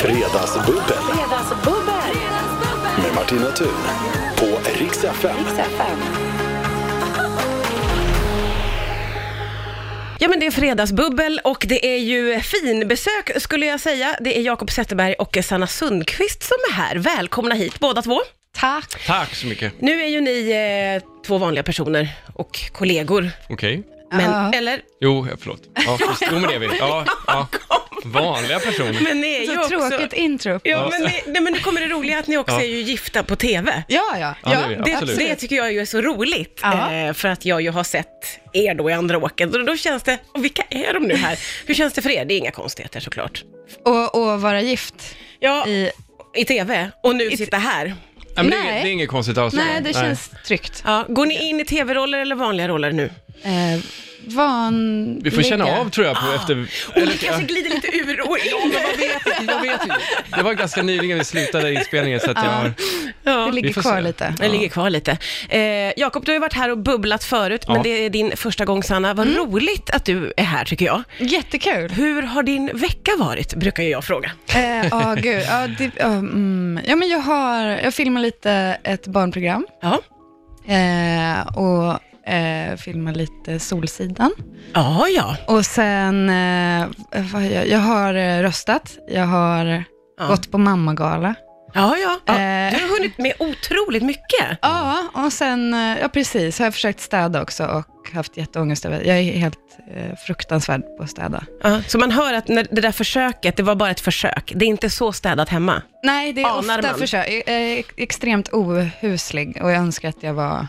Fredagsbubbel Fredagsbubbel! med Martina Thun på Rix FM. Ja men det är fredagsbubbel och det är ju finbesök skulle jag säga. Det är Jakob Zetterberg och Sanna Sundqvist som är här. Välkomna hit båda två. Tack! Tack så mycket. Nu är ju ni eh, två vanliga personer och kollegor. Okej. Men, Ja. eller? Jo, ja, förlåt. Ja, just, jo, men det är vi. Ja, ja. Vanliga personer. Men ni är ju Så också... tråkigt intro. Ja men, ni, nej, men nu kommer det roliga att ni också Ja. är ju gifta på TV. Ja, ja. Ja, det är vi. Det, Absolut. det tycker jag ju är så roligt, Ja. eh, för att jag ju har sett er då i andra åken. Och då känns det, och vilka är de nu här? Hur känns det för er? Det är inga konstigheter såklart. Och, och vara gift. Ja, i, I... TV, och nu sitta här. Ja, men det, är, Nej. det är inget konstigt alls. Nej, det känns tryggt. Ja, går ni in i TV-roller eller vanliga roller nu? Eh, van... Vi får känna av tror jag på efter... Och ni kanske glider lite ur och in. Jag vet inte. Det var ganska nyligen vi slutade inspelningen så att jag har... Det Ja. vi ligger får kvar se. lite. Den ligger kvar lite. Eh, Jakob, du har ju varit här och bubblat förut, men Ja. det är din första gång Sanna. Vad roligt att du är här tycker jag. Jättekul. Hur har din vecka varit, brukar ju jag fråga. Eh, ja, gud. Ja, det, ja, mm. ja, men jag, har, jag filmar lite ett barnprogram Ja, eh, och eh, filmar lite Solsidan. ja. ja. Och sen, eh, vad har jag, jag har eh, röstat, jag har Ja. gått på mammagala. Ja, ja. ja. Eh. Du har hunnit med otroligt mycket. Ja, och sen, eh, ja precis, har jag försökt städa också och haft jätteångest över Jag är helt eh, fruktansvärd på att städa. Ja, så man hör att när det där försöket, det var bara ett försök. Det är inte så städat hemma. Nej, det är Anar ofta man. försök. Jag är extremt ohuslig och jag önskar att jag var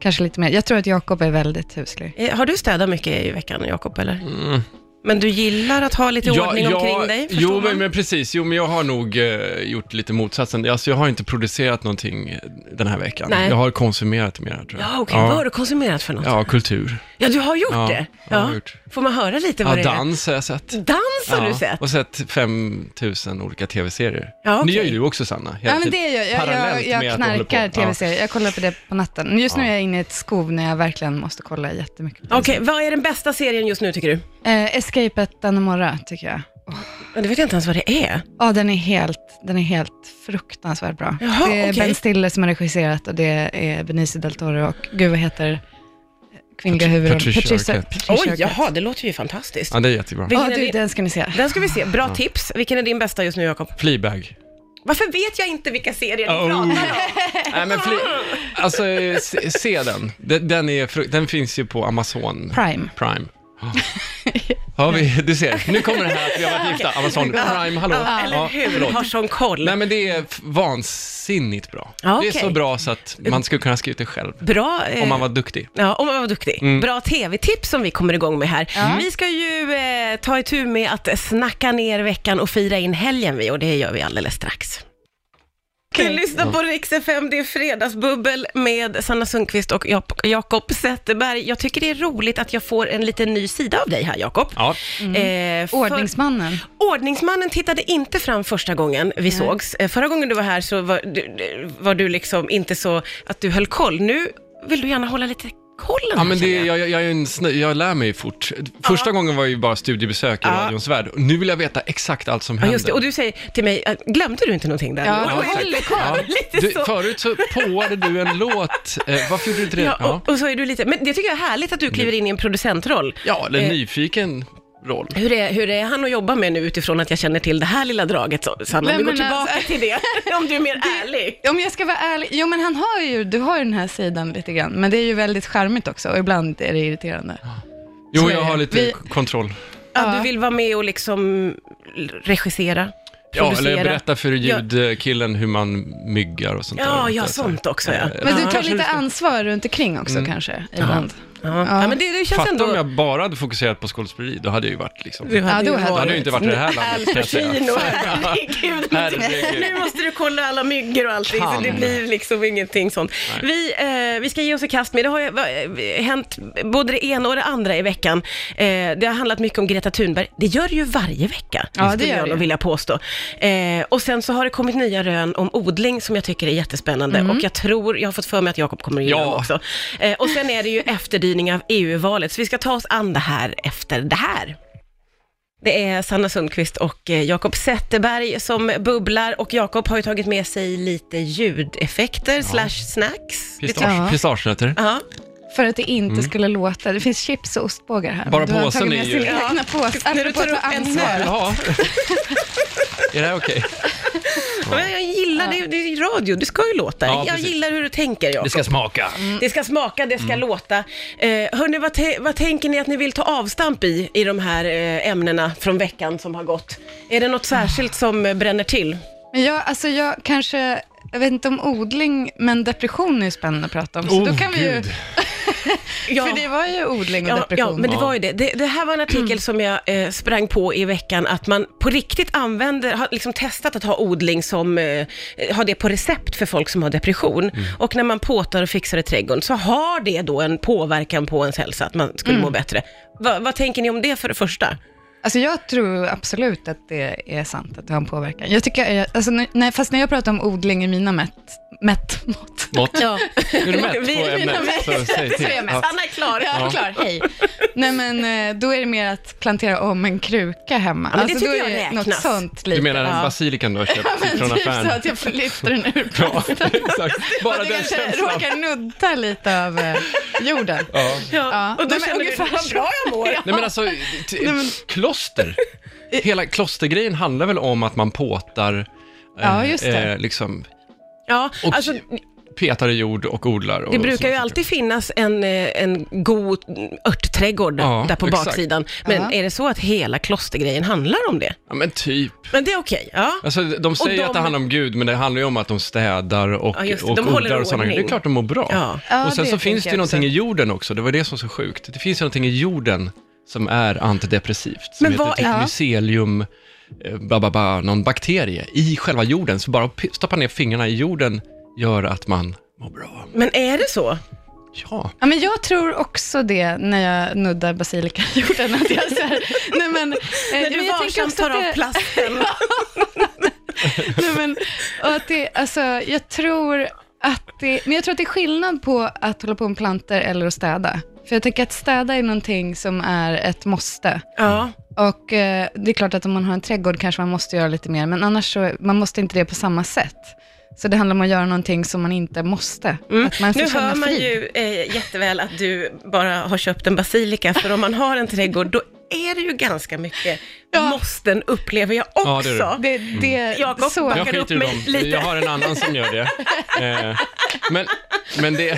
kanske lite mer. Jag tror att Jakob är väldigt huslig. Eh, Har du städat mycket i veckan, Jakob, eller? Mm. Men du gillar att ha lite ordning omkring dig, förstår Jo, man? men, men precis. Jo, men jag har nog eh, gjort lite motsatsen. Alltså, jag har inte producerat någonting eh, den här veckan. Nej. Jag har konsumerat mer, tror jag. Ja, okej. Vad har du konsumerat för något? Ja, Ja, kultur. du har gjort Ja, det? jag har gjort. Får man höra lite Ja, vad det är? dans har jag sett. Dans har du Ja, sett? Och sett 5000 olika tv-serier. Ja, okej. Det gör ju du också Sanna. Ja, hela men tiden. det gör jag. Jag, Parallellt jag, med jag att du håller på. knarkar Ja. tv-serier. Jag kollar på det på natten. Men Just nu är jag inne i ett skov när jag verkligen måste kolla jättemycket. på Okej, vad är den bästa serien just nu tycker du? det. Eh, Escape at Dannemora, tycker jag. Ja, Det vet jag inte ens vad det är. Ja, den är helt, den är helt fruktansvärt bra. Jaha, det är okej. Ben Stiller som har regisserat och det är Benicio del Toro och gud vad heter kvinnliga Patri- huvudrollen? Patricia Arquette. Patricia Oj, Arquette. jaha, det låter ju fantastiskt. Ja, det är jättebra. Vi- Ja, Vilken är du, din- den ska ni se. Den ska vi se. Bra tips. Vilken är din bästa just nu, Jakob? Fleabag. Varför vet jag inte vilka serier ni Oh. pratar om? Nej, men fli... Alltså, se, se den. Den, den, är, fru- den finns ju på Amazon Prime. Prime. Ja. Har vi, du ser, nu kommer det här att vi har varit gifta. Amazon Prime, hallå. Ja, eller Ja, hur? förlåt. Har sån koll. Nej men det är f- vansinnigt bra. Ja, Det okej. är så bra så att man skulle kunna skriva ut det själv. Bra, eh, Om man var duktig. ja, om man var duktig. Bra tv-tips som vi kommer igång med här. Vi ska ju eh, ta itu med att snacka ner veckan och fira in helgen vi, och det gör vi alldeles strax. Du lyssnar på Rix FM, det är fredagsbubbel med Sanna Sundqvist och Jak- Jakob Zetterberg. Jag tycker det är roligt att jag får en liten ny sida av dig här, Jakob. Ja. Eh, för- Ordningsmannen. Ordningsmannen tittade inte fram första gången vi sågs. Eh, Förra gången du var här så var du, du- var du liksom inte så att du höll koll. Nu vill du gärna hålla lite kollen Ja, här, men det, känner jag. jag, jag, jag, är en snö, jag lär mig fort. Första gången var ju bara studiebesök i radions värld. Nu vill jag veta exakt allt som Ja, händer. just det. Och du säger till mig, eh, glömde du inte någonting där? Ja, Och då är exakt. du lite- lite du, så. förut så påade du en låt. Eh, varför gjorde du inte det? Ja, Ja, Mm. och, och så är du lite, men det tycker jag är härligt att du kliver in i en producentroll. ja eller eh, nyfiken roll. Hur är, hur är han att jobba med nu utifrån att jag känner till det här lilla draget, så- Sanna? Nej, Om vi går men tillbaka alltså- till det, om du är mer ärlig. Om jag ska vara ärlig, jo men han har ju, du har ju den här sidan lite grann, men det är ju väldigt charmigt också och ibland är det irriterande. så Jo, är jag det. har lite Vi- k- kontroll. Ja, Ja. du vill vara med och liksom regissera, Ja, eller producera. berätta för ljudkillen hur man myggar och sånt där. Ja, ja, Lite så här. sånt också ja. Eh, Men du Ja. Mm. tar Kanske lite du ska- ansvar runt omkring också kanske, ibland. Ja, ja. men det, det känns Fatta ändå... om jag bara hade fokuserat på skådespeleri, då hade jag ju varit liksom... Du Ja, då ju hade jag- Då hade jag inte varit i det här landet, Al kan jag säga. Pacino, herregud. Herregud. Nu måste du kolla alla myggor och allting, så Kan. det blir liksom ingenting sånt. Vi, eh, vi ska ge oss i kast med, det har ju, va, eh, hänt både det ena och det andra i veckan. Eh, det har handlat mycket om Greta Thunberg. Det gör det ju varje vecka, Ja, det skulle gör jag det. nog vilja påstå. Eh, och sen så har det kommit nya rön om odling som jag tycker är jättespännande. Mm. Och jag tror, jag har fått för mig att Jakob kommer att gilla Ja. dem också. Eh, och sen är det ju efterdyningar av EU-valet, så vi ska ta oss an det här efter det här. Det är Sanna Sundqvist och eh, Jakob Zetterberg som bubblar och Jakob har ju tagit med sig lite ljudeffekter slash snacks. Det tror- Ja. Pistage, pistagenötter. Ja. För att det inte skulle låta. Det finns chips och ostbågar här. Mm. Bara Du har påsen tagit är med ju- sin Ja. egna påse. När du Apropå tar att ta upp en ansvar. Vad vill du ha? Är det här okej? Men jag gillar det, det är radio, det ska ju låta. Ja, jag precis. gillar hur du tänker Jakob. Det ska smaka. Det ska smaka, det ska låta. Eh, hörni, vad, te- vad tänker ni att ni vill ta avstamp i, i de här eh, ämnena från veckan som har gått? Är det något särskilt som eh, bränner till? Men jag, alltså jag kanske, jag vet inte om odling, men depression är ju spännande att prata om. Så Oh, då kan vi ju, Ja. För det var ju odling och Ja, depression. ja, men det var ju det. det. Det här var en artikel som jag eh, sprang på i veckan, att man på riktigt använder, har liksom testat att ha odling som, eh, har det på recept för folk som har depression. Mm. Och när man påtar och fixar i trädgården så har det då en påverkan på ens hälsa, att man skulle Mm. må bättre. Va, vad tänker ni om det för det första? Alltså jag tror absolut att det är sant att det har en påverkan. Jag tycker, eh, alltså, när- när, fast när jag pratar om odling i mina mätt, mätt mått, Mått. Ja. Är du mätt Vi- på vi- ämnet? Så säg till. Så är jag mätt. Ja. Anna är klar. Ja, klar. Hej. Nej, men eh, då är det mer att plantera om en kruka hemma. Alltså, men det tycker då jag är det räknas. något sånt lite. Du menar Ja. basilikan du har köpt Men från typ så affären? att jag lyfter den ur Ja, plast. exakt. Bara Att jag den kanske känslan. råkar nudda lite av eh, jorden. Ja. Ja. Och då Nej, men känner du, ungefär vad så. bra jag mår. Nej men alltså, t- kloster. Hela klostergrejen handlar väl om att man påtar, eh, Ja, just det. Eh, liksom, Ja, och alltså, petar i jord och odlar. Och det brukar ju sånt. alltid finnas en, eh, en god örtträdgård Ja, där på exakt. baksidan. Men Ja. är det så att hela klostergrejen handlar om det? Ja men typ. Men det är okej, ja. Alltså, de säger de- att det handlar om Gud, men det handlar ju om att de städar och, Ja, just det. och De håller odlar och sådana ordning. grejer. Det är klart de mår bra. Ja. Ja, och sen det så tänker finns det ju jag någonting också. i jorden också, det var det som var så sjukt. Det finns ju någonting i jorden som är antidepressivt, som Men heter vad typ är- mycelium, eh, ba, ba, ba, någon bakterie i själva jorden. Så bara att p- stoppa ner fingrarna i jorden gör att man mår bra. Men är det Eh, så? Ja. Ja, men jag tror också det när jag nuddar basilikajorden. Att jag så här, nej, men, eh, När men du jag tänker varsamt också tar att av det- plasten. Nej, men, och att det, alltså, jag tror att det, men jag tror att det är skillnad på att hålla på med plantor eller att städa. För jag tänker att städa är någonting som är ett måste. Ja, Och eh, det är klart att om man har en trädgård kanske man måste göra lite mer, men annars så, man måste inte det på samma sätt. Så det handlar om att göra någonting som man inte måste. Att Mm. man får Mm. nu känna hör man frid. ju eh, jätteväl att du bara har köpt en basilika, för om man har en trädgård, då är det ju ganska mycket måsten upplever jag också. Ja, det är det. Det, det, Jakob, så. backar Jag upp skiter i mig dem. lite. Jag har en annan som gör det. Eh, men men det,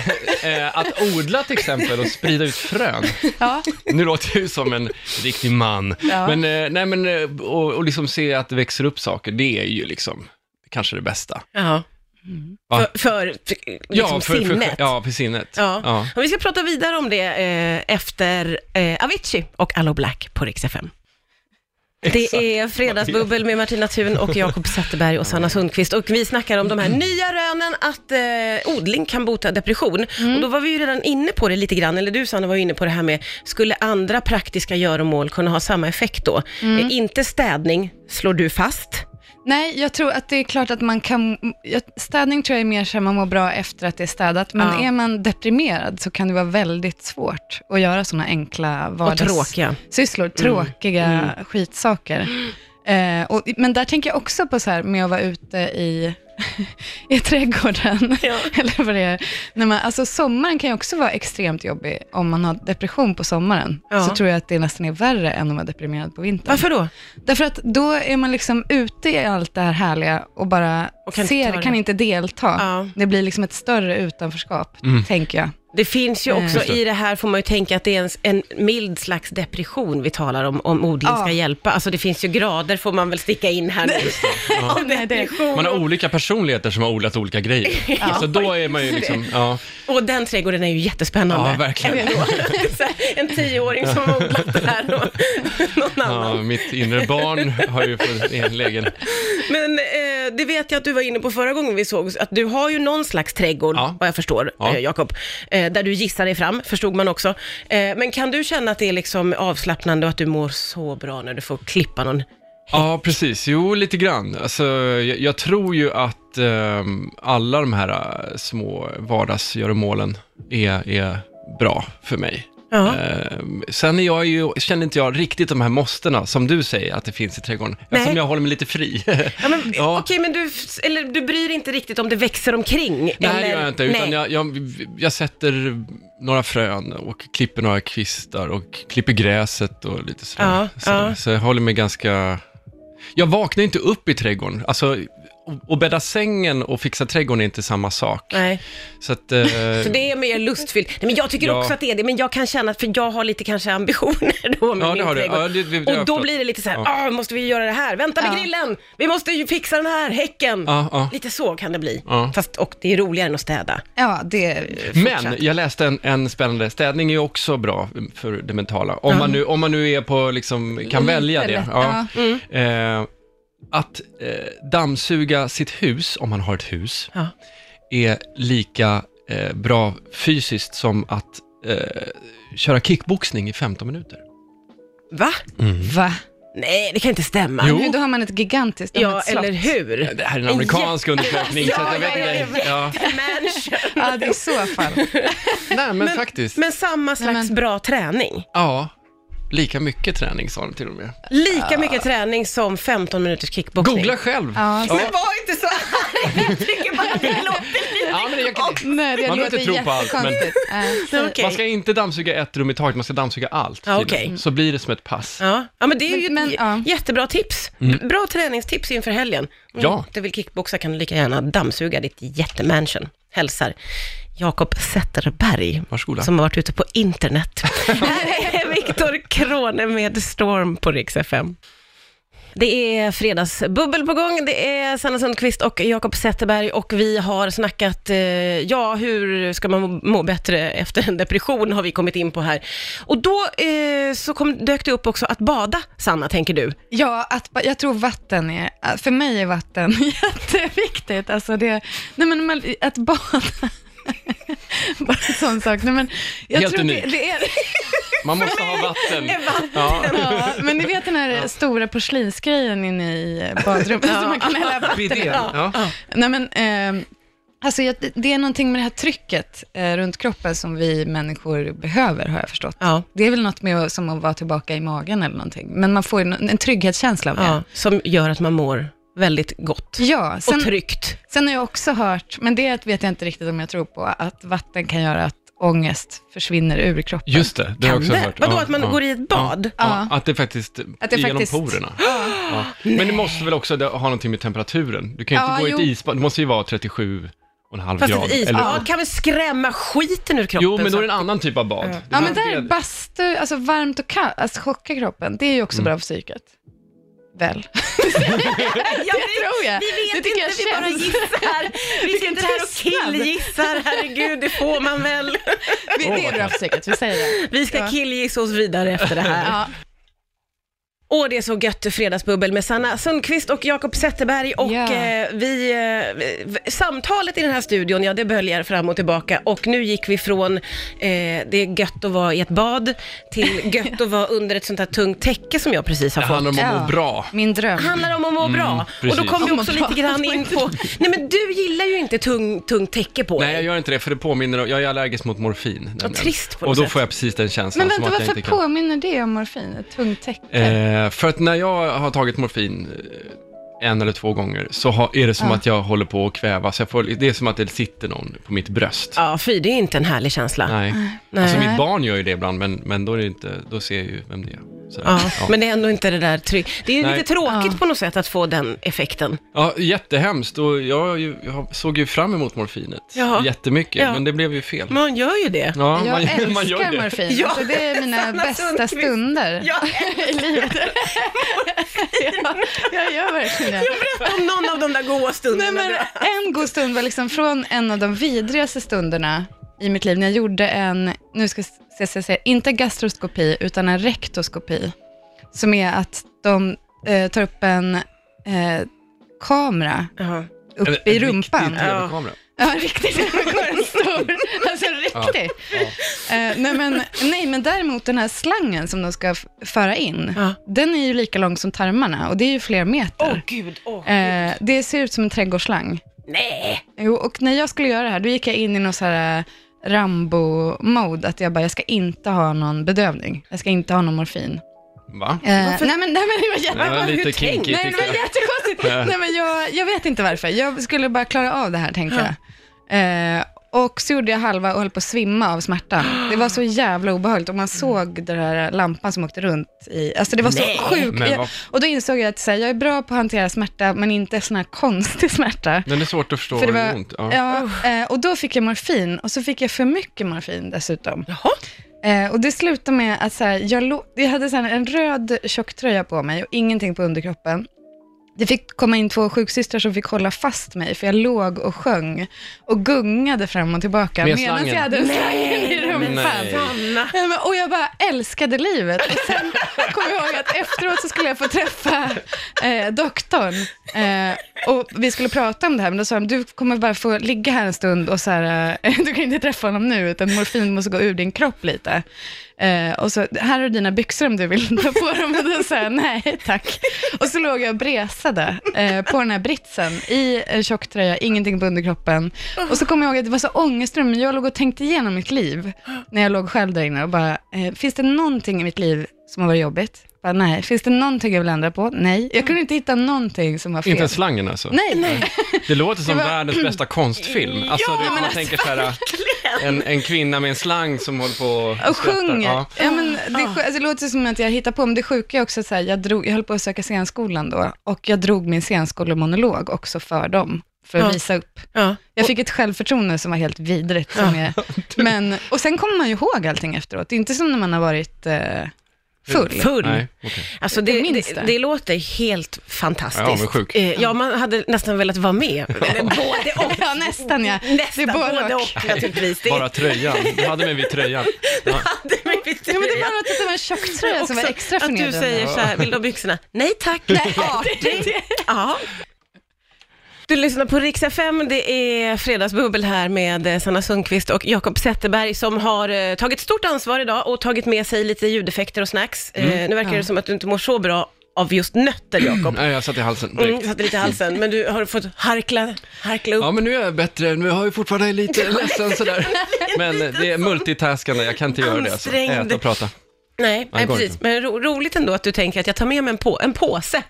eh, att odla till exempel och sprida ut frön, Ja. nu låter jag ju som en riktig man, Ja. men, eh, nej, men eh, och, och liksom se att det växer upp saker, det är ju liksom kanske det bästa. Ja. Va? För, för, för, liksom sinnet. ja, för sinnet. Ja. Ja. Och vi ska prata vidare om det eh, efter eh, Avicii och Allo Black på Rix FM. Det är Fredagsbubbel med Martina Thun och Jakob Zetterberg och Sanna Sundqvist. Och vi snackar om de här nya rönen att eh, odling kan bota depression. Och då var vi ju redan inne på det lite grann, eller du Sanna var ju inne på det här med, skulle andra praktiska göromål kunna ha samma effekt då? Eh, inte städning, slår du fast. Nej, jag tror att det är klart att man kan... jag- Städning tror jag är mer så här, man mår bra efter att det är städat, men Ja. är man deprimerad så kan det vara väldigt svårt att göra sådana enkla tråkiga. Mm. vardagssysslor, tråkiga skitsaker. Eh, och, men där tänker jag också på så här med att vara ute i, i trädgården. Eller vad det är. När man, alltså sommaren kan ju också vara extremt jobbig. Om man har depression på sommaren, Ja. så tror jag att det nästan är värre än att vara deprimerad på vintern. Varför då? Därför att då är man liksom ute i allt det här härliga och bara Och kan inte ser, ta det. kan inte delta. Ja. Det blir liksom ett större utanförskap, Mm. tänker jag. Det finns ju också, Just det. i det här får man ju tänka att det är en, en mild slags depression vi talar om, om odling Ja. ska hjälpa. Alltså det finns ju grader får man väl sticka in här nu. Om Nej, det- depression. Man har olika personligheter som har odlat olika grejer. Så då är man ju liksom, ja, Och den trädgården är ju jättespännande. Ja, verkligen. Ändå. Det är så här, en tioåring som har odlat det här och någon annan. ja, mitt inre barn har ju fått en lägen. Men eh, det vet jag att du var inne på förra gången vi såg att du har ju någon slags trädgård, Ja. vad jag förstår, Ja. eh, Jakob, eh, där du gissar dig fram, förstod man också. Eh, men kan du känna att det är liksom avslappnande och att du mår så bra när du får klippa någon? Ja, precis. Jo, lite grann. Alltså, jag, jag tror ju att ehm, alla de här eh, små vardagsgöromålen är, är bra för mig. Ja. Eh, sen är jag ju, känner inte jag riktigt de här måstena som du säger att det finns i trädgården, eftersom jag håller mig lite fri. Ja, men, Ja. Okej, men du, eller, du bryr dig inte riktigt om det växer omkring? Nej, eller? det gör jag inte. Utan Nej. jag, jag, jag sätter några frön och klipper några kvistar och klipper gräset och lite sådär. Ja, så, ja. så jag håller mig ganska... Jag vaknar inte upp i trädgården. Alltså, och- och bädda sängen och fixa trädgården är inte samma sak. Nej. Så att... Eh, Så det är mer lustfyllt. Nej, men jag tycker Ja. också att det är det, men jag kan känna att, för jag har lite kanske ambitioner då med Ja, det min har du. trädgård. Ja, det- det- det- och då förlåt. blir det lite så här, Ja. ah, måste vi göra det här? Vänta med Ja. grillen! Vi måste ju fixa den här häcken! ja, ja. Lite så kan det bli. Ja. Fast, och det är roligare än att städa. Ja, det... Men jag läste en, en spännande, städning är ju också bra för det mentala. Om, man, nu, om man nu är på, liksom, kan välja det. lätt, Ja. Eh, att eh, dammsuga sitt hus, om man har ett hus, Ja. är lika eh, bra fysiskt som att eh, köra kickboxning i 15 minuter. Va? Va? Nej, det kan inte stämma. Jo. Nu, då har man ett gigantiskt Ja, ett slott. eller hur? Det här är en amerikansk undersökning, så att jag vet Ja, ja, inte. Ja. Mansion. Ja, det är i så fall. Nej, men, faktiskt. Men samma slags Nej, men- bra träning. Ja, lika mycket träning sa de till och med. Lika mycket träning som 15 minuters kickboxning. Ah. Googla själv. Ja, så- Men var inte så arg! Jag tycker bara att det låter lite... Ja, men jag kan- Nej, det Man behöver inte tro på allt, men- Men... Okej. Man ska inte dammsuga ett rum i taget, man ska dammsuga allt. Ja, tydligen. okej. Mm. Så blir det som ett pass. Ja. ja, men det är ju Men- ett men, j- jättebra tips. B- Bra träningstips inför helgen. Om Mm. Ja. du inte vill kickboxa kan du lika gärna dammsuga ditt jättemansion. Hälsar Jakob Zetterberg, Varsågoda. som har varit ute på internet. Här är Viktor Krone med Storm på Rix FM. Det är fredagsbubbel på gång. Det är Sanna Sundqvist och Jakob Zetterberg och vi har snackat, eh, ja, hur ska man må, må bättre efter en depression har vi kommit in på här. Och då eh, så kom, dök det upp också att bada, Sanna, tänker du. Ja, att, ba- jag tror vatten är, för mig är vatten jätteviktigt. Alltså det, nej men man- att bada, bara en sån sak. Nej men, jag Helt tror att unik. Det, det är, Man måste ha vatten. Ja. ja, men ni vet den här stora porslinsgrejen inne i badrummet som man kan hälla vatten i. Bidén. Ja. Nej men, ehm, alltså jag, det- det är någonting med det här trycket eh, runt kroppen som vi människor behöver, har jag förstått. Ja. Det är väl något med att, som att vara tillbaka i magen eller någonting. Men man får ju en, en trygghetskänsla av det. ja, Ja. som gör att man mår väldigt gott och sen, tryggt. sen har jag också hört, men det vet jag inte riktigt om jag tror på, att vatten kan göra att ångest försvinner ur kroppen. Just det, det har jag också hört. Vadå, Ja, att man ja. går i ett bad? Ja, att det faktiskt Att det genom faktiskt- porerna. Ja. Men det måste väl också ha någonting med temperaturen? Du kan ju inte Ja, gå i ett jo. isbad, det måste ju vara 37 och en halv Fast grad. ett isbad eller- kan väl skrämma skiten ur kroppen? Jo, men då är det så- en annan typ av bad. Ja, men Det- där bastu, alltså varmt och kallt, alltså chocka kroppen, det är ju också Mm. bra för psyket. Väl? Ja, Det tror jag. Vi vet det inte, tycker jag vi bara känns. gissar. Vi sitter här och tystnad. killgissar, herregud, det får man väl. Vi- Det är bra för psyket, vi säger det. Vi ska Ja. killgissa oss vidare efter det här. Ja. Och det är så gött fredagsbubbel med Sanna Sundqvist och Jakob Zetterberg och Ja. eh, vi, eh, v- samtalet i den här studion, ja det böljar fram och tillbaka och nu gick vi från eh, det är gött att vara i ett bad till gött att vara under ett sånt här tungt täcke som jag precis har Det fått. handlar om att må Ja. bra. Min dröm. handlar om att må bra. och då precis. kom vi Om också att må lite bra. grann in på... Nej men du gillar ju inte tung, tung täcke på Nej, jag dig. gör inte det, för det påminner om, jag är allergisk mot morfin. nämligen. trist på något Och då sätt. får jag precis den känslan Men som vänta, att jag varför inte kan. påminner det om morfin? Ett tungt täcke? Eh, för att när jag har tagit morfin eh, en eller två gånger så har, är det som Ja. att jag håller på att kvävas. Jag får, det är som att det sitter någon på mitt bröst. Ja, fy det är inte en härlig känsla. Nej. Nej. Alltså mitt barn gör ju det ibland, men, men då, är det inte, då ser jag ju vem det är. Sådär. Ja, Ja. men det är ändå inte det där trygg. Det är Nej. lite tråkigt Ja. på något sätt att få den effekten. ja, jättehemskt och jag, har ju- jag såg ju fram emot morfinet Ja. jättemycket, Ja. men det blev ju fel. Man gör ju det. Ja, jag älskar det. morfin. Ja, Alltså, det är mina Sanna bästa Sundqvist. stunder Ja. i livet. ja, jag gör verkligen det. Berätta om någon av de där goa stunderna. Nej, men du- en god stund var liksom från en av de vidrigaste stunderna i mitt liv, när jag gjorde en, nu ska jag se- se, inte gastroskopi, utan en rektoskopi, som är att de eh, tar upp en eh, kamera Jaha. En- upp en i rumpan. Riktig tv-kamera. Ja, riktigt stor. Alltså riktig. Eh, nej, men, nej, men däremot den här slangen som de ska f- föra in, Ja. den är ju lika lång som tarmarna och det är ju fler meter. Åh gud, åh gud. Eh, det ser ut som en trädgårdsslang. Nej! Jo, och när jag skulle göra det här, då gick jag in i någon så här Rambo-mode, att jag bara, jag ska inte ha någon bedövning. Jag ska inte ha någon morfin. Va? Eh, nej, men, nej men det var Det var jätte... lite hur kinky tänk? Nej, det var tyckte jag. jättekonstigt. Ja. Nej, men jag, jag vet inte varför. Jag skulle bara klara av det här, tänkte jag. Eh, och så gjorde jag halva och höll på att svimma av smärtan. Det var så jävla obehagligt och man såg den här lampan som åkte runt i... Alltså det var Nej. så sjukt. Men Jag, vad- och då insåg jag att så här, jag är bra på att hantera smärta, men inte sån här konstig smärta. Den är svårt att förstå För hur det det var- ont. Ja. Ja, eh, och då fick jag morfin och så fick jag för mycket morfin dessutom. Jaha. Eh, och det slutade med att så här, jag, lo- jag hade så här, en röd tjocktröja på mig och ingenting på underkroppen. Det fick komma in två sjuksystrar som fick hålla fast mig, för jag låg och sjöng och gungade fram och tillbaka Med medan slangen? jag hade slangen i rumpan. Nej. Sanna. Nej, men- Och jag bara älskade livet. Och sen kom jag ihåg att efteråt så skulle jag få träffa eh, doktorn. Eh, och vi skulle prata om det här, men då sa de, du kommer bara få ligga här en stund och så här, eh, du kan inte träffa honom nu, utan morfin måste gå ur din kropp lite. Eh, och så, här har du dina byxor om du vill ta på dem. Och då sa jag, nej tack. Och så låg jag och bresade eh, på den här britsen i en tjocktröja, ingenting på underkroppen. Och så kom jag ihåg att det var så ångestrum, men jag låg och tänkte igenom mitt liv när jag låg själv där inne och bara, eh, finns det någonting i mitt liv som har varit jobbigt? Bara, nej. Finns det någonting jag vill ändra på? Nej. Jag kunde inte hitta någonting som var fel. Inte ens slangen alltså? Nej. nej. Det låter som Det var- världens bästa konstfilm. Alltså, Ja, du vet, men man alltså, tänker så här, en, en kvinna med en slang som håller på Och skrattar. sjunger. Ja. Ja. men det, är sj- alltså, det låter som att jag hittar på, men det sjuka är också att så här, jag, drog, jag höll på att söka scenskolan då, och jag drog min scenskolemonolog också för dem, för att Ja. visa upp. Ja. Jag fick ett självförtroende som var helt vidrigt. Som är, men, och sen kommer man ju ihåg allting efteråt. Det är inte som när man har varit eh, full. Full. Nej, okej. Alltså det, Jag minns det, det. det. låter helt fantastiskt. Ja, men sjuk. Eh, Ja, man hade nästan velat vara med. Men både och. Ja, nästan ja. det Nästan är både, och. naturligtvis. Det Bara tröjan. Du hade mig vid tröjan. Ja. hade mig lite- Ja, men det var något att det var en tjocktröja som var Också extra Att du förnedrande. säger så här, vill du ha byxorna? Nej tack. Nej, ja. Du lyssnar på Rix FM, det är Fredagsbubbel här med eh, Sanna Sundqvist och Jakob Zetterberg som har eh, tagit stort ansvar idag och tagit med sig lite ljudeffekter och snacks. Eh, nu verkar det som att du inte mår så bra av just nötter, Jakob. Nej, jag satt i halsen Mm, direkt. satte lite i halsen, men du har fått harkla, harkla upp. Ja, men nu är jag bättre. Nu har jag fortfarande lite ledsen sådär. Men eh, det är multitaskande. Jag kan inte göra det. Alltså. Ansträngd. Äta och prata. Nej, nej går precis. inte. Men ro, roligt ändå att du tänker att jag tar med mig en, på, en påse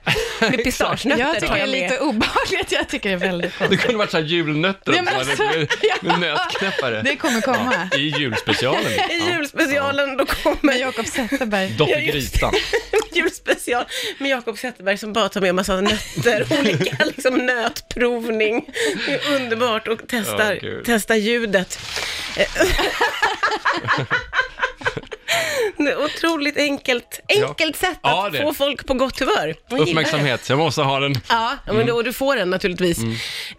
med pistagenötter. Jag tycker tar det är jag med. lite obehagligt, jag tycker det är väldigt Det konstigt. kunde varit så här julnötter också. Ja, men alltså, med, med nötknäppare. Det kommer komma. I julspecialen. I Ja. julspecialen, då Med kommer Jakob Zetterberg. Dopp Ja, i just grytan. julspecial med Jakob Zetterberg som bara tar med en massa nötter, olika liksom, nötprovning. Det är underbart och testar, Ja, gud. testar ljudet. Eh, Det är Otroligt enkelt, Ja. enkelt sätt Ja, att det. få folk på gott humör. Jag gillar det. Uppmärksamhet. Jag måste ha den. Ja, ja, men Mm. då, och du får den naturligtvis.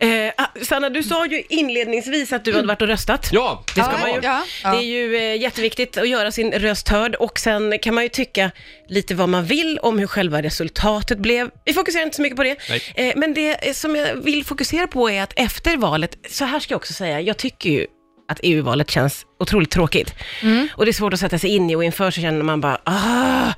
Eh, ah, Sanna, du sa ju inledningsvis att du hade varit och röstat. Mm. Ja, Det ska Ja, man ju. ja, ja. Det är ju eh, jätteviktigt att göra sin röst hörd och sen kan man ju tycka lite vad man vill om hur själva resultatet blev. Vi fokuserar inte så mycket på det. Nej. Eh, Men det eh, som jag vill fokusera på är att efter valet, så här ska jag också säga, jag tycker ju att EU-valet känns otroligt tråkigt. Och det är svårt att sätta sig in i och inför så känner man bara, ah,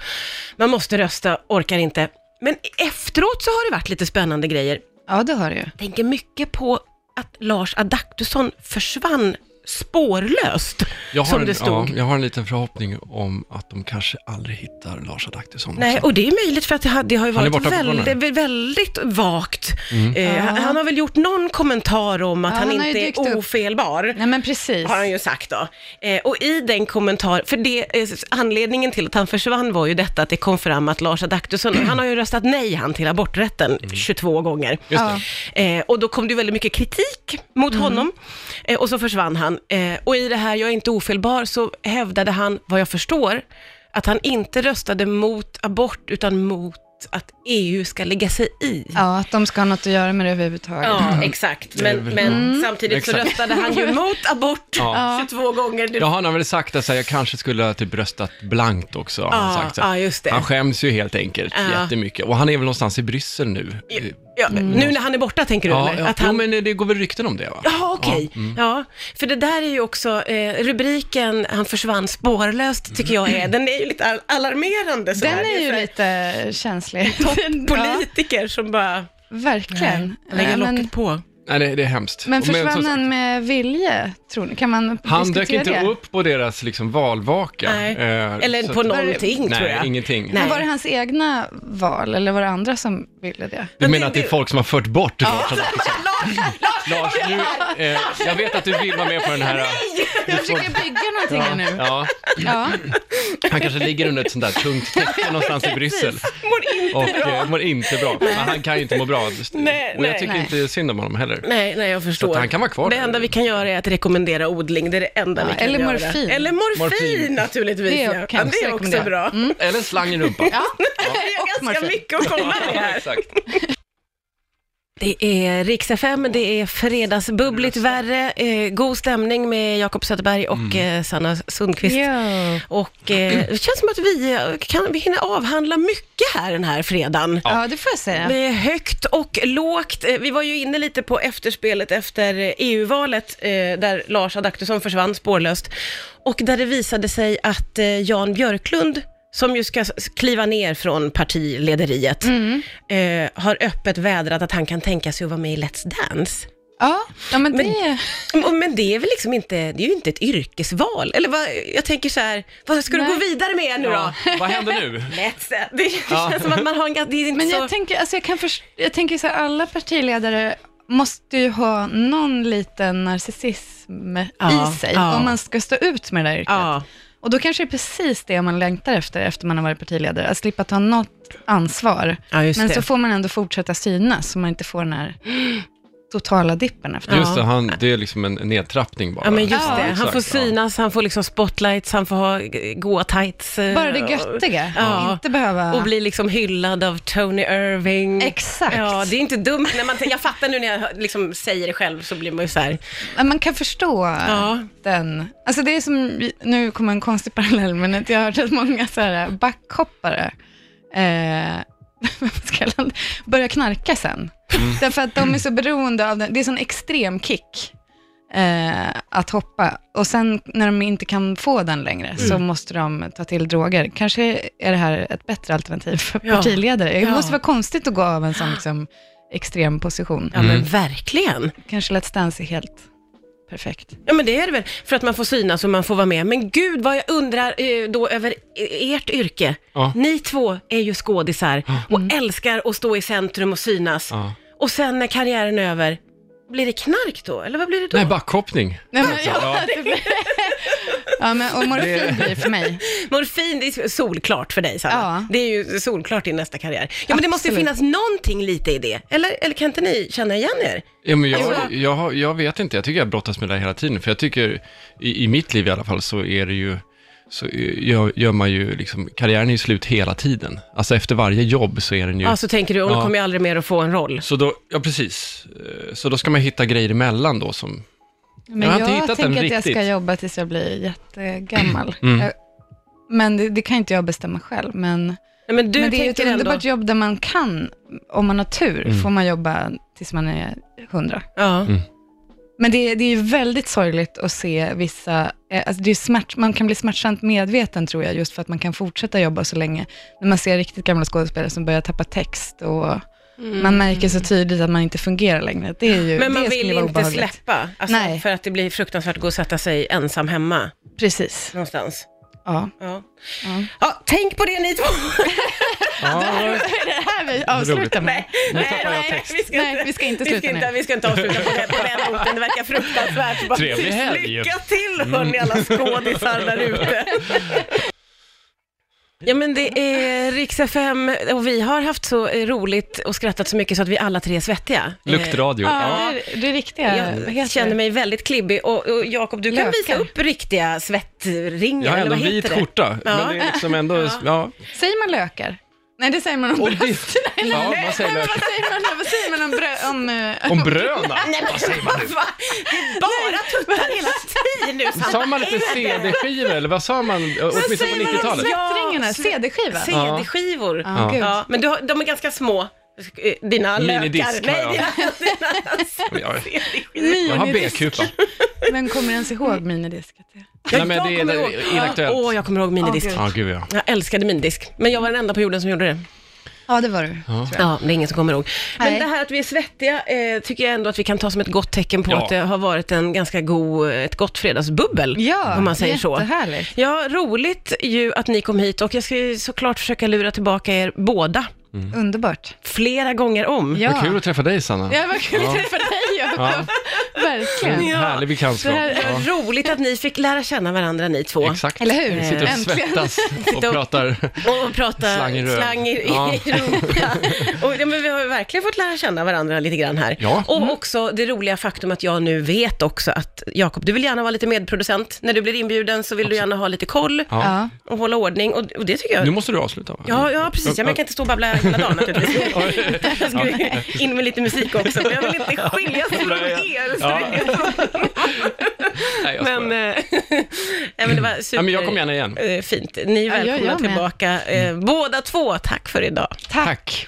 man måste rösta, orkar inte. Men efteråt så har det varit lite spännande grejer Ja, det har du ju. tänker mycket på att Lars Adaktusson försvann spårlöst, Jag har, som en, det stod. Ja, jag har en liten förhoppning om att de kanske aldrig hittar Lars Adaktusson. Nej, också. och det är möjligt för att det har, det har ju Han är varit borta Mm. fortfarande. väldigt, väldigt vagt. Eh, han, Ja. han har väl gjort någon kommentar om att Ja, han, han har ju inte dykt är upp. ofelbar. Nej, men precis. har han ju sagt då. Eh, och i den kommentar, för det, eh, anledningen till att han försvann var ju detta att det kom fram att Lars Adaktusson, han har ju röstat nej han till aborträtten 22 gånger. Mm. Just det. Ja. Eh, och då kom det väldigt mycket kritik mot honom eh, och så försvann han. Eh, och i det här Jag är inte ofelbar så hävdade han, vad jag förstår, att han inte röstade mot abort utan mot att EU ska lägga sig i. Ja, att de ska ha något att göra med det överhuvudtaget. Ja, exakt. Men, Mm. Det är väl- Mm. men samtidigt så Exakt. röstade han ju mot abort Ja. 22 gånger. Det Ja, han har väl sagt att så här, jag kanske skulle ha typ röstat blankt också. har han, Ja, sagt, så här. ja, just det. han skäms ju helt enkelt Ja. jättemycket. Och han är väl någonstans i Bryssel nu. Ja, Nu när han är borta tänker du Mm. Ja, eller? ja. Att han... Jo, men det går väl rykten om det va? Jaha, okej. mm. Ja, för det där är ju också, eh, rubriken Han försvann spårlöst tycker jag är, den är ju lite al- alarmerande. så här. Den Det är ju så här lite känslig. Ja, Politiker som bara verkligen. lägger Nej, men- locket på. Nej, det, det är hemskt. Men Och men som försvann sagt, han med vilje, tror ni? Kan man han dök diskutera inte det? upp på deras liksom, valvaka. Nej. Eh, Eller så på att- någonting tror Nej, jag. ingenting. Nej. Men var det hans egna val, eller var det andra som ville det? Du Men menar det- att det är det- folk som har fört bort Lars? Lars, nu, eh, jag vet att du vill vara med på den här... eh, Jag försöker bygga någonting här nu. Ja, Ja. han kanske ligger under ett sånt där tungt täcke någonstans i Bryssel Mår inte och bra. eh, mår inte bra. Men han kan ju inte må bra. Nej, och nej. jag tycker Nej. inte synd om honom heller. Nej, nej, jag förstår. att han kan vara kvar det där. enda vi kan göra är att rekommendera odling. Det är det enda vi Ja, kan eller göra. morfin. Eller morfin. Morfin. naturligtvis. Det ja. kan jag ja, det är också också bra. rekommendera. Eller slang i rumpan. Mm. Ja. Vi har Och ganska morfin. mycket att komma med här. Exakt. Det är Rix FM, det är fredagsbubbligt värre, eh, god stämning med Jakob Söderberg och eh, Sanna Sundqvist. Jo. Och eh, det känns som att vi, eh, kan, vi hinner avhandla mycket här den här fredagen. Ja, det får jag säga. Det är högt och lågt. Eh, Vi var ju inne lite på efterspelet efter eh, EU-valet, eh, där Lars Adaktusson försvann spårlöst. Och där det visade sig att eh, Jan Björklund, som ju ska s- kliva ner från partilederiet, Mm. eh, har öppet vädrat att han kan tänka sig att vara med i Let's Dance. Ja, ja men Men- det... Och- Men det är väl liksom inte, det är ju inte ett yrkesval. Eller vad, jag tänker så här, vad ska du Nej. gå vidare med nu då? Ja. Vad händer nu? Let's Dance. Det, det känns som att man har en, ga- det är inte Men så... jag tänker, alltså jag kan först, jag tänker så här, alla partiledare måste ju ha någon liten narcissism Ja, i sig, ja. om man ska stå ut med det där yrket. ja. Och då kanske det är precis det man längtar efter, efter man har varit partiledare, att slippa ta något ansvar. Ja, just Men det. så får man ändå fortsätta synas, så man inte får den här totala dippen efter. Just det, han, det är liksom en nedtrappning bara. Ja men just Ja, det, han exakt, får ja. synas, han får liksom spotlights, han får ha eh, goa tights. eh, Bara det göttiga, Ja. inte behöva... Och bli liksom hyllad av Tony Irving. Exakt. Ja, det är inte dumt. När man, tänker- jag fattar nu när jag hör- liksom säger det själv så blir man ju så här. Men Man kan förstå Ja. den. Alltså det är som, nu kommer en konstig parallell, men att jag har hört att många så här eh, backhoppare eh, vad ska jag kalla det? börjar knarka sen. Mm. Därför att de är så beroende av den, det är sån extrem kick eh, att hoppa. Och sen när de inte kan få den längre Mm. så måste de ta till droger. Kanske är det här ett bättre alternativ för Ja. partiledare. Det Ja. måste vara konstigt att gå av en sån liksom, extrem position. Ja men verkligen. Kanske Let's Dance är helt perfekt. Ja men det är det väl, för att man får synas och man får vara med. Men gud vad jag undrar eh, då över e- ert yrke. Ja. Ni två är ju skådisar och älskar att stå i centrum och synas. Ja. Och sen när karriären är över, blir det knark då? Eller vad blir det då? Nej, backhoppning. Nej, men, ja, Alltså, Ja. det blir... ja, men och morfin blir för mig. Morfin, det är solklart för dig Sanna. Ja. Det är ju solklart i nästa karriär. Ja, men det måste ju Absolut. finnas någonting lite i det. Eller, eller kan inte ni känna igen er? Ja, men jag, jag, har- jag vet inte, jag tycker jag brottas med det här hela tiden. För jag tycker, i, i mitt liv i alla fall, så är det ju, så gör, gör man ju liksom, karriären är ju slut hela tiden. Alltså efter varje jobb så är den ju... Ja, så tänker du, och nu Ja. kommer jag aldrig mer att få en roll. Så då, ja precis. Eh, Så då ska man hitta grejer emellan då som... Men har jag, inte hittat tänker den att jag ska riktigt. jobba tills jag blir jättegammal. Mm. Jag, men det, det kan inte jag bestämma själv. Men, Nej, men du men det är ju ett tänker ändå... underbart jobb där man kan, om man har tur, Mm. får man jobba tills man är hundra. Ja. Men det, det är ju väldigt sorgligt att se vissa, eh, alltså det är smärt, man kan bli smärtsamt medveten tror jag, just för att man kan fortsätta jobba så länge. När man ser riktigt gamla skådespelare som börjar tappa text och man märker så tydligt att man inte fungerar längre. Det är ju, Mm. Men man det skulle vill vara inte obehagligt. släppa, alltså, Nej. för att det blir fruktansvärt att gå och sätta sig ensam hemma Precis, någonstans. ja. Ja. Ja. Ja, tänk på det ni två! Ja, Det här vi avslutar med. nu tappar jag text. vi ska Nej, inte, vi ska inte vi sluta ska nu. inte, vi ska inte avsluta på den, på den noten, det verkar fruktansvärt. Bara, Trevlig helg. Mm. Lycka till hörni alla skådisar där ute. Ja men det är Rix FM och vi har haft så eh, roligt och skrattat så mycket så att vi alla tre är svettiga. Eh, Luktradio. Ja, Ja. det, är- det är riktiga, vad heter Jag det? känner mig väldigt klibbig och, och Jakob du kan Lökar. visa upp riktiga svettringar Jag har eller ändå vad en vit heter det? skjorta, Ja. men det är liksom ändå... Ja. ja. Alltså, Säger man lökar? Nej, det säger man om Och bröd. det, ja, man Nej, säger men väl- vad säger man, vad säger man om bröd? Om, eh, Om Alltså, bröna? Nej men vad fan, det är bara tuttar hela tiden nu Sanna. Sa man inte CD-skivor eller vad sa man? Åtminstone säger på man om 90-talet. svettringarna? Ja, sl- CD-skiva? CD-skivor. Ah, gud. Ja, men du har, de är ganska små. eh, Dina Minidisk lökar. har Nej, jag. dina, dina Jag- CD-skivor. Jag har Minidisk. B-kupa. Men kommer ens ihåg minidisket? Nej, men det är det är inaktuellt. Åh, jag kommer ihåg minidisk. Åh, Ja, gud ja. jag älskade minidisk, men jag var den enda på jorden som gjorde det. Ja, det var du. Tror jag. Ja, det är ingen som kommer ihåg. Men Nej. det här att vi är svettiga eh, tycker jag ändå att vi kan ta som ett gott tecken på Ja. att det har varit en ganska god, eh, ett gott fredagsbubbel, Ja, om man säger så. jättehärligt. Ja, roligt ju att ni kom hit och jag ska ju såklart försöka lura tillbaka er båda Underbart. flera gånger om. Ja. Vad kul att träffa dig, Sanna. Ja, vad kul att träffa dig, Jakob. Verkligen. En Härlig bekantskap. Det här är Ja. Roligt att ni fick lära känna varandra ni två. Exakt. Eller hur? Vi sitter och Äntligen. svettas och och- pratar. Och prata Slang i röv. slang i, Ja. i rumpan. Och, ja, men vi har ju verkligen fått lära känna varandra lite grann här. Ja. Mm. Och också det roliga faktum att jag nu vet också att Jakob, du vill gärna vara lite medproducent. När du blir inbjuden så vill du gärna ha lite koll Ja. och hålla ordning. Och, och det tycker jag... Nu måste du avsluta, va? Ja, ja, precis. Ja, men jag kan inte stå och babbla hela dagen naturligtvis. Jag skulle in med lite musik också, men jag vill inte skiljas från er. Så det är så. Nej, jag skojar. Men, eh, nej, men det var super... Nej, men jag kommer gärna igen. eh, Fint. Ni är Ja, jag- välkomna jag med. tillbaka, eh, båda två. Tack för idag. Tack.